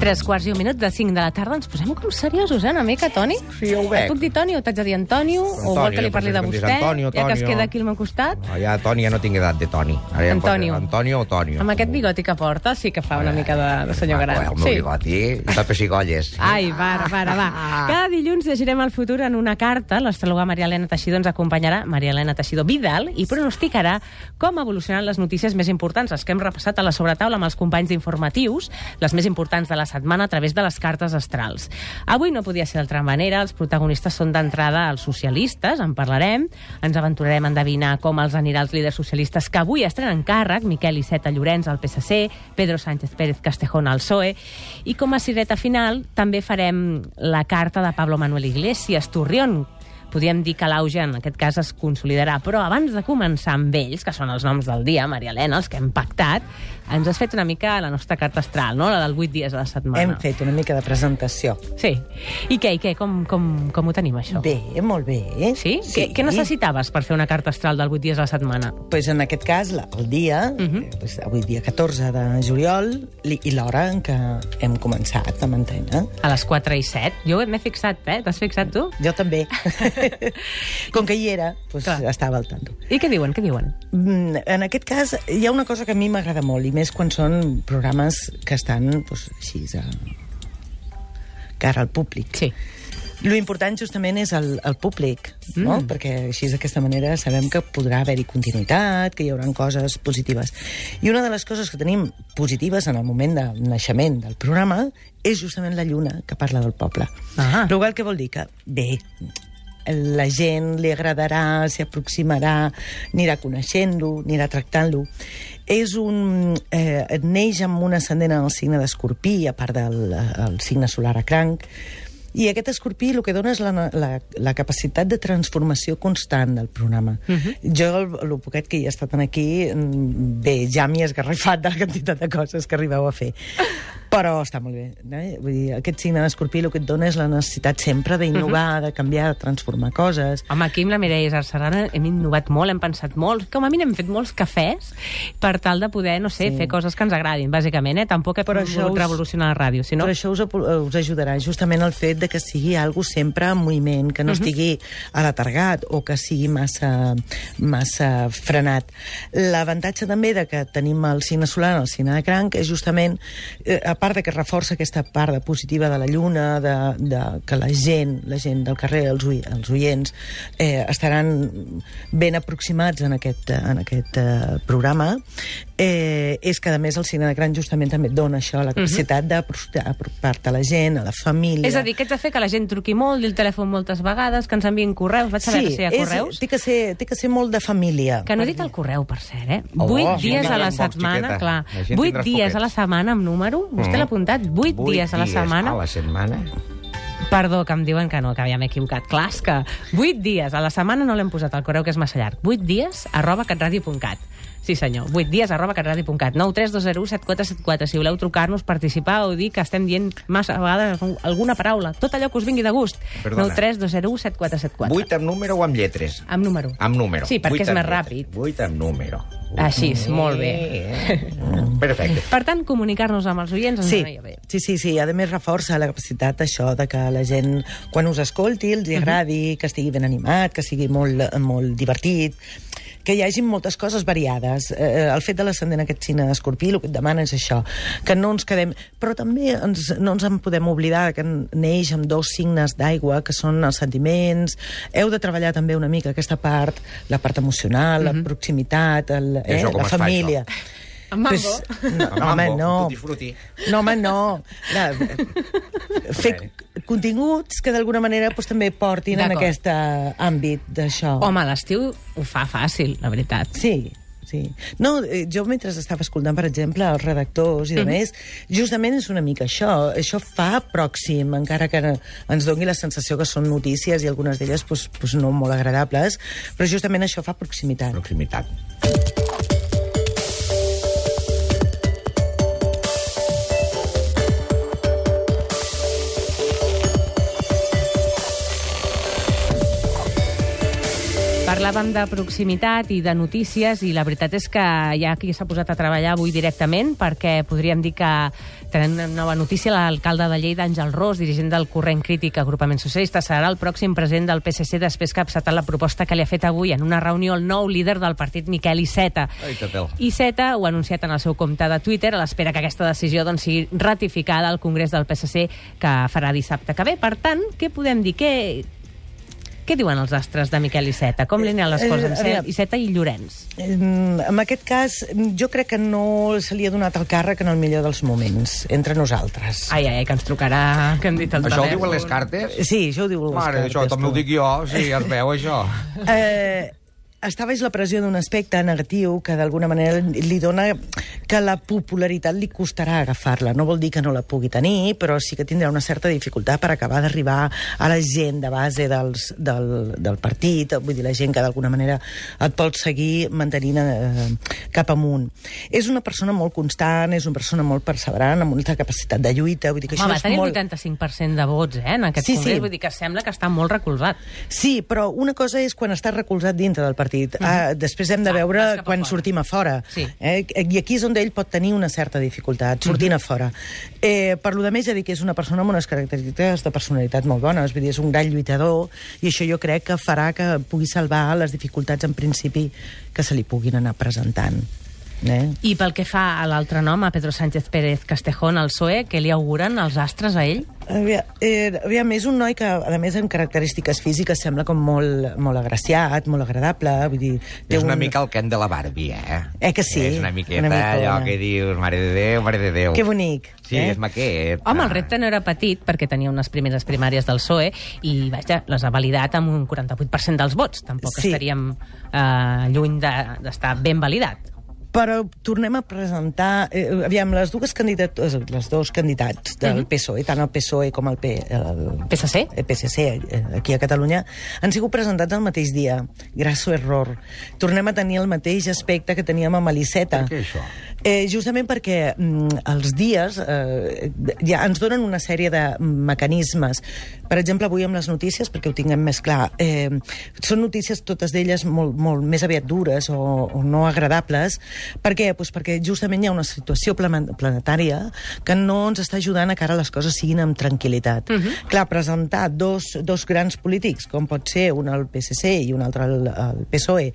Tres quarts i un minut de 5 de la tarda. Ens posem com seriosos, eh, una mica, Toni? Sí, ja ho Et veig. puc dir Toni o t'haig de dir Antonio? o vol que Antonio, li parli de potser que em diguis vostè? Antonio, ja que es Antonio. queda aquí al meu costat. No, ja Toni ja no tinc edat de Toni. Ara ja em pot dir Antonio. Antonio o Tonio. Amb aquest bigoti que porta sí que fa una mica de, de senyor gran. Ah, Ah, el meu sí. bigoti, de pessigolles. Ai, va, va, va, va. Cada dilluns llegirem el futur en una carta. L'astròloga Maria Elena Teixidor ens acompanyarà, Maria Elena Teixidor Vidal, i pronosticarà com evolucionaran les notícies més importants, les que hem repassat a la sobretaula amb els companys d'informatius, les més importants de la setmana a través de les cartes astrals. Avui no podia ser d'altra manera, els protagonistes són d'entrada els socialistes, en parlarem, ens aventurarem a endevinar com els anirà els líders socialistes que avui estrenen càrrec, Miquel Iceta Llorenç al PSC, Pedro Sánchez Pérez Castejón al PSOE, i com a cireta final també farem la carta de Pablo Manuel Iglesias, Turrión, podríem dir que l'auge en aquest cas es consolidarà, però abans de començar amb ells, que són els noms del dia, Maria Elena, els que hem pactat, ens has fet una mica la nostra carta astral, no? la del 8 dies a la setmana. Hem fet una mica de presentació. Sí. I què, i què? Com, com, com ho tenim, això? Bé, molt bé. Eh? Sí? sí. Què, què necessitaves per fer una carta astral del 8 dies a la setmana? Pues en aquest cas, la- el dia, uh Mhm. -huh. pues avui dia 14 de juliol, li- i l'hora en què hem començat a mantenir. A les 4 i 7? Jo m'he fixat, eh? T'has fixat tu? Jo també. Com que hi era, pues Clar. estava al tanto. I què diuen? Què diuen? Mm, En aquest cas, hi ha una cosa que a mi m'agrada molt, i més quan són programes que estan pues, així, a... cara al públic. Sí. Lo important justament és el, el públic, mm. no? perquè així d'aquesta manera sabem que podrà haver-hi continuïtat, que hi haurà coses positives. I una de les coses que tenim positives en el moment del naixement del programa és justament la lluna que parla del poble. Ah. Però igual que vol dir que, bé, la gent li agradarà, s'hi aproximarà, anirà coneixent-lo, anirà tractant-lo. És un... Eh, neix amb un ascendent en el signe d'escorpí, a part del el signe solar a cranc, i aquest escorpí el que dona és la, la, la capacitat de transformació constant del programa. Uh -huh. Jo, el, el poquet que hi he estat aquí, mm, bé, ja m'hi he esgarrifat de la quantitat de coses que arribeu a fer. Però està molt bé. No? Vull dir, aquest signe d'escorpí el que et dona és la necessitat sempre d'innovar, uh -huh. de canviar, de transformar coses. Home, aquí amb la Mireia Sarserrana hem innovat molt, hem pensat molt, com a mínim hem fet molts cafès per tal de poder, no sé, sí. fer coses que ens agradin, bàsicament, eh? Tampoc he Però pogut això us- revolucionar la ràdio, No? sinó... Però això us, apo- eh, us ajudarà justament el fet de que sigui algo sempre en moviment, que no uh -huh. estigui alatargat o que sigui massa, massa frenat. L'avantatge també de que tenim el cine solar, el cine de cranc, és justament, eh, a part de que reforça aquesta part de positiva de la lluna, de, de que la gent, la gent del carrer, els, oi, els oients, eh, estaran ben aproximats en aquest, eh, en aquest eh, programa, eh, és que, a més, el cine de cranc justament també et dona això, Mhm. la capacitat d'apropar-te a la gent, a la família... És a dir, que ets de fer que la gent truqui molt, dir el telèfon moltes vegades, que ens enviïn correus, vaig saber que si hi ha correus... té, que ser, té que ser molt de família. Que no he dit el correu, per cert, eh? Oh, Vuit la gent dies a la tindràs pocs, setmana, xiqueta. clar. La gent Vuit tindràs dies poquets. a la setmana amb número. Vostè Mm. l'ha apuntat? Vuit Vuit dies a la setmana. A la setmana. Perdó, que em diuen que no, que ja m'he equivocat. Clar, és que 8 dies, a la setmana no l'hem posat al correu, que és massa llarg. 8 dies, arroba catradio.cat. Sí, senyor. 8 dies, arroba catradio.cat. 9 3 2 0 7 4 7 4. Si voleu trucar-nos, participar o dir que estem dient massa vegades alguna paraula. Tot allò que us vingui de gust. Perdona. 9 3 2 0 7 4 7 4. Vuit amb número o amb lletres? Amb número. Amb número. Ah. Sí, perquè Vuit és amb més lletres. ràpid. Vuit amb número. Així, és, molt bé. Eh, eh. Perfecte. Per tant, comunicar-nos amb els oients ens Sí, aniria bé. sí, sí, sí, a més reforça la capacitat això de que la gent, quan us escolti, els hi agradi, que estigui ben animat, que sigui molt, eh, molt divertit, que hi hagi moltes coses variades. Eh, el fet de l'ascendent aquest cine d'escorpí, el que et demana és això, que no ens quedem... Però també ens, no ens en podem oblidar que neix amb dos signes d'aigua, que són els sentiments. Heu de treballar també una mica aquesta part, la part emocional, la proximitat, el, eh, això com la es fa, família. Amb mambo. no, Amb no, home, mambo, no. tutti frutti. No, home, no. La, fer continguts que d'alguna manera doncs, també portin en D'acord. aquest eh, àmbit d'això. Home, a l'estiu ho fa fàcil, la veritat. Sí, sí. No, eh, jo mentre estava escoltant, per exemple, els redactors i Mhm. demés, mm -hmm. més, justament és una mica això. Això fa pròxim, encara que no- ens doni la sensació que són notícies i algunes d'elles pues, pues no molt agradables, però justament això fa proximitat. Proximitat. Parlàvem de proximitat i de notícies i la veritat és que hi ha qui s'ha posat a treballar avui directament perquè podríem dir que tenen una nova notícia. L'alcalde de Lleida, Àngel Ros, dirigent del Corrent Crític Agrupament Socialista, serà el pròxim president del PSC després que ha acceptat la proposta que li ha fet avui en una reunió el nou líder del partit, Miquel Iceta. Ai, Tatel. Iceta ho ha anunciat en el seu compte de Twitter a l'espera que aquesta decisió doncs, sigui ratificada al Congrés del PSC que farà dissabte que ve. Per tant, què podem dir? Què, què diuen els astres de Miquel Iceta? Com li aniran les Eh, eh, coses a veure. amb Iceta i Llorenç? Mm, En aquest cas, jo crec que no se li ha donat el càrrec en el millor dels moments, entre nosaltres. Ai, ai, ai, que ens trucarà, que hem dit el Això ho telèfon. diuen les cartes? Sí, això ho diu l'Òscar. Mare, això també ho dic jo, sí, es veu això. Eh, està baix la pressió d'un aspecte negatiu que d'alguna manera li dona que la popularitat li costarà agafar-la. No vol dir que no la pugui tenir, però sí que tindrà una certa dificultat per acabar d'arribar a la gent de base dels, del, del partit, vull dir, la gent que d'alguna manera et pot seguir mantenint eh, cap amunt. És una persona molt constant, és una persona molt perseverant, amb molta capacitat de lluita, vull dir que Home, això va és tenir molt... el 85% de vots, eh, en aquest Sí, congrés. sí. Vull dir que sembla que està molt recolzat. Sí, però una cosa és quan estàs recolzat dintre del partit. Mm -hmm. ah, després hem de Ah, veure vas cap a quan fora. sortim a fora. Sí. Eh? I aquí és on ell pot tenir una certa dificultat, sortint mm -hmm. a fora. Eh, per lo de més, ja dic que és una persona amb unes característiques de personalitat molt bones, vull dir, és un gran lluitador, i això jo crec que farà que pugui salvar les dificultats, en principi, que se li puguin anar presentant. Eh? I pel que fa a l'altre nom, a Pedro Sánchez Pérez Castejón, al PSOE, que li auguren els astres a ell? Aviam, eh, aviam, és un noi que, a més, en característiques físiques sembla com molt, molt agraciat, molt agradable, vull dir... té És una un- mica el Ken de la Barbie, eh? Eh que sí? És una miqueta Una una micona. allò que dius, mare de Déu, mare de Déu. Que bonic. Sí, eh? és maquet. Home, Ah. el repte no era petit, perquè tenia unes primeres primàries del PSOE E i, vaja, les ha validat amb un 48% dels vots. Tampoc Sí. sí. estaríem eh, lluny de- d'estar de, ben validat. Però tornem a presentar... Eh, aviam, les dues candidatures, les dos candidats del PSOE, E, tant el PSOE com el, P, el PSC? el PSC eh, aquí a Catalunya, han sigut presentats el mateix dia. Grasso error. Tornem a tenir el mateix aspecte que teníem amb Eliseta. Per què això? Eh, justament perquè mm, els dies eh, ja ens donen una sèrie de mecanismes. Per exemple, avui amb les notícies, perquè ho tinguem més clar, eh, són notícies totes d'elles molt, molt més aviat dures o, o no agradables. Per què? Pues perquè justament hi ha una situació plamen- planetària que no ens està ajudant a que ara les coses siguin amb tranquil·litat. Clar, presentar dos, dos grans polítics, com pot ser un al PSC i un altre al, al PSOE,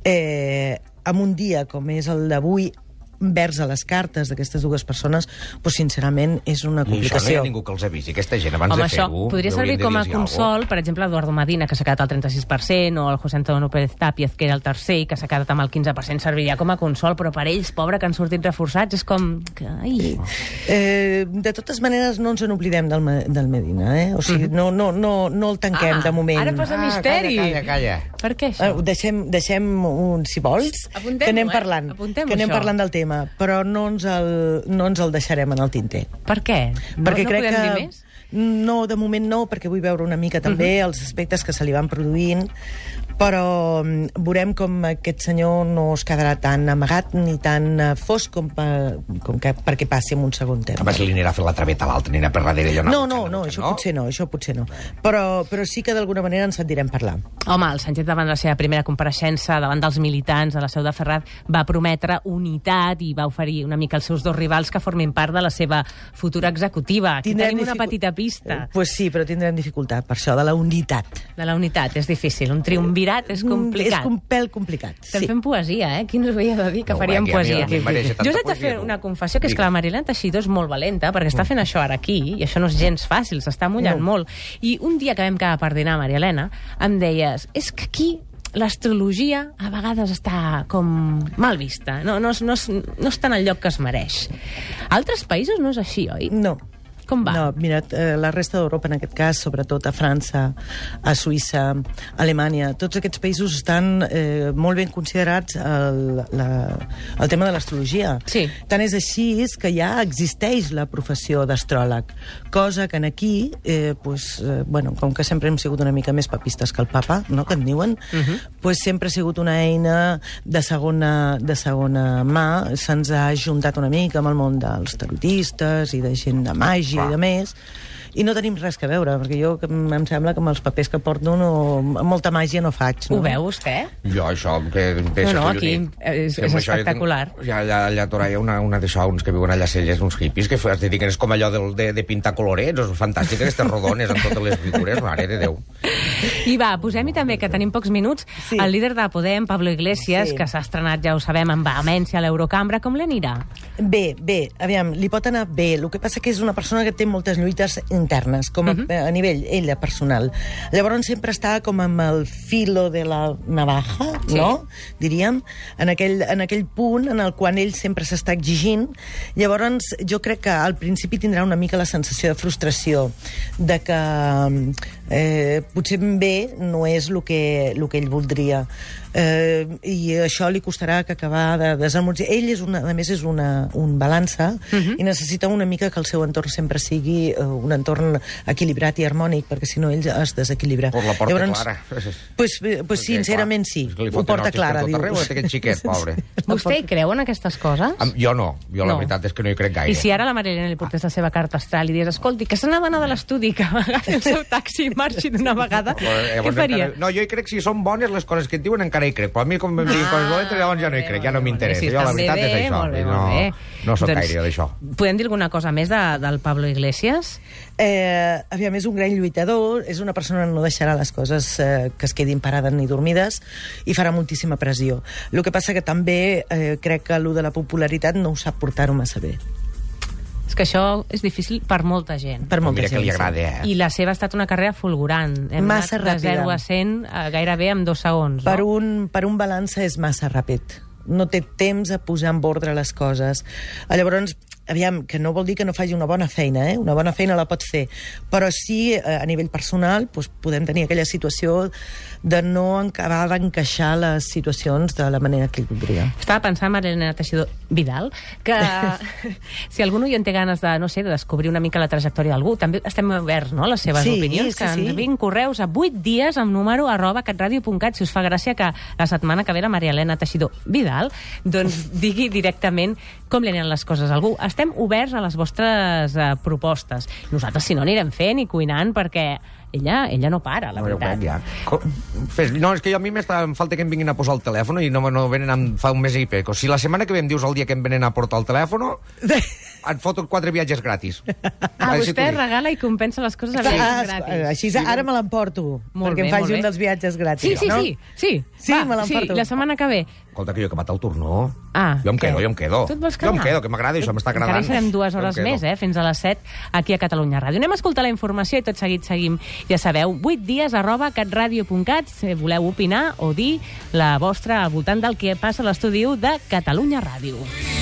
E, eh, amb un dia com és el d'avui, vers a les cartes d'aquestes dues persones, doncs sincerament és I això no hi una complicació. ha ningú que els avisi, aquesta gent, abans Home, de això fer-ho. podria servir haurien de com a dir-los alguna consol, per exemple, Eduardo Medina, que s'ha quedat al 36%, o el José Antonio Pérez Tàpiez, que era el tercer i que s'ha quedat amb el 15%, serviria com a consol, però per ells, pobre, que han sortit reforçats, és com... Que, ai, Eh, de totes maneres, no ens en oblidem del, Ma- del Medina, eh? O sigui, Mhm. no, no, no, no el tanquem Ah, de moment. ara posa Ah, misteri. Calla, calla, per què Eh, això? ho deixem, deixem un, si vols, Apuntem-ho, que anem eh? parlant, Apuntem-ho, que anem això. parlant del tema, però no ens el, no ens el deixarem en el tinter. Per què? No, perquè no crec podem que... dir més? Mhm. No, de moment no, perquè vull veure una mica també els aspectes que se li van produint, però mm, veurem com aquest senyor no es quedarà tan amagat ni tan eh, fosc com, per, com que, perquè passi en un segon eh? terme. Home, si li anirà a fer la traveta a l'altre, anirà per darrere allò. No, no, no, això potser no, això potser no. Però, però sí que d'alguna manera ens sentirem parlar. Home, el Sánchez davant la seva primera compareixença davant dels militants a la seu de Ferrat va prometre unitat i va oferir una mica els seus dos rivals que formin part de la seva futura executiva. Aquí tenim una dificu- petita pista Eh, pues sí, però tindrem dificultat per això, de la unitat. de la unitat. És difícil, un triumvirat és Mm, complicat. És un pèl complicat, Estem sí. fent poesia, eh? Qui ens ho havia de dir que No, faríem aquí a mi- poesia? a mi em mereix tanta jo us haig de poesia, fer tu. una confessió, que és Digues. Mm. que la Marilena Teixidor és molt valenta, perquè està fent això ara aquí, i això no és gens fàcil, s'està mullant No. molt. I un dia que vam quedar per dinar, Maria Elena, em deies, és que aquí l'astrologia a vegades està com mal vista, no, no, és- no, és- no està en el lloc que es mereix. A altres països no és així, oi? Mm. No. Com va? No, mira, eh, la resta d'Europa, en aquest cas, sobretot a França, a Suïssa, a Alemanya, tots aquests països estan eh, molt ben considerats el, la, el tema de l'astrologia. Sí. Tant és així és que ja existeix la professió d'astròleg, cosa que en aquí, eh, pues, eh, bueno, com que sempre hem sigut una mica més papistes que el papa, no?, que en diuen, uh -huh. pues sempre ha sigut una eina de segona, de segona mà, se'ns ha ajuntat una mica amb el món dels tarotistes i de gent de màgia i de més, I no tenim res que veure, perquè jo que m- em sembla que amb els papers que porto no, molta màgia no faig. No? Ho veu vostè? Jo, això, que em deixa No, no, acollonit. aquí és- Sí, és amb això jo espectacular. Tinc, ja, allà, allà a Torà hi ha una, una d'això, uns que viuen allà celles, uns hippies, que fa- es dediquen, és com allò del, de, de pintar colorets, és fantàstic, aquestes rodones amb totes les figures, mare de Déu. I va, posem-hi també, que tenim pocs minuts, Sí. el líder de Podem, Pablo Iglesias, Sí. que s'ha estrenat, ja ho sabem, amb vehemència a l'Eurocambra. Com l'anirà? Bé, bé, aviam, li pot anar bé. El que passa que és una persona que té moltes lluites internes, com a, a nivell ella personal. Llavors sempre està com amb el filo de la navaja, Sí. no? Diríem, en aquell, en aquell punt en el qual ell sempre s'està exigint. Llavors jo crec que al principi tindrà una mica la sensació de frustració, de que eh, potser bé no és el que, el que ell voldria. Eh, I això li costarà que acabar de desemortir. Ell, és una, a més, és una, un balança Mhm. i necessita una mica que el seu entorn sempre sigui eh, un entorn equilibrat i harmònic, perquè si no ell es desequilibra. Por la porta clara. Pues, eh, pues sí, Perquè, sincerament clar, sí. és que li Ho foten porta hòsties clara, per tot diu. arreu, aquest xiquet, pobre. Vostè hi creu en aquestes coses? Am- Jo no, jo la No. veritat és que no hi crec gaire. I si ara la Marilena li portés la seva carta astral i digués, escolti, que se n'ha d'anar de l'estudi, que agafi el seu taxi i marxi d'una vegada, Eh, què llavors faria? encara- No, jo hi crec, si són bones les coses que et diuen, encara hi crec. Però a mi, com em diuen coses Ah, dolentes, llavors ja no hi crec, ja no m'interessa. Sí, Jo, la està veritat bé, és això. molt bé, no, molt bé. no sóc Doncs, gaire d'això. Podem dir alguna cosa més de, del Pablo Iglesias? Eh, aviam, és un gran lluitador, és una persona que no deixarà les coses eh, que es quedin parades ni dormides i farà moltíssima pressió. El que passa que també eh, crec que allò de la popularitat no ho sap portar-ho massa bé. És que això és difícil per molta gent. Per molta Mira que gent, li sí. agrada, eh? I la seva ha estat una carrera fulgurant. Hem Massa anat de ràpida. 0 a 100 eh, gairebé en dos segons. Per no? un, per un balança és massa ràpid. No té temps a posar en ordre les coses. Eh, Llavors, aviam, que no vol dir que no faci una bona feina, eh? Una bona feina la pot fer. Però sí, eh, a nivell personal, doncs, podem tenir aquella situació de no acabar d'encaixar les situacions de la manera que ell voldria. Estava pensant, Marilena Teixidor Vidal, que si algun oient té ganes de, no sé, de descobrir una mica la trajectòria d'algú, també estem oberts, no?, a les seves Sí, opinions, sí, que sí. en vinc correus a 8 dies amb número arroba catradio.cat. Si us fa gràcia que la setmana que ve la Maria Elena Teixidor Vidal doncs digui directament com li aniran les coses a algú. Estem oberts a les vostres eh, propostes. Nosaltres, si no, anirem fent i cuinant perquè ella, ella no para, la No, jo veritat. crec, ja. Co- Fes, no, és que jo a mi m'està em falta que em vinguin a posar el telèfon i no, no venen a, fa un mes i peco. Si la setmana que ve em dius el dia que em venen a portar el telèfon, et foto quatre viatges gratis. Ah, Vaig vostè situir. regala i compensa les coses a Ah, vegades gratis. Així ara me l'emporto, Molt perquè bé, em faci molt un bé. dels viatges gratis. Sí, sí, no? sí, sí. Sí, Va, me l'emporto. Sí, la setmana que ve. Escolta, que jo he acabat el tornó. Ah, jo em què? quedo, jo em quedo. Tu et vols Oh, jo em quedar? quedo, que m'agrada, això m'està agradant. Encara hi serem dues Jo em hores quedo. més, eh, fins a les 7 aquí a Catalunya Ràdio. Anem a escoltar la informació i tot seguit seguim, ja sabeu, 8 dies arroba catradio.cat eh, si voleu opinar o dir la vostra al voltant del que passa a l'estudi u de Catalunya Ràdio.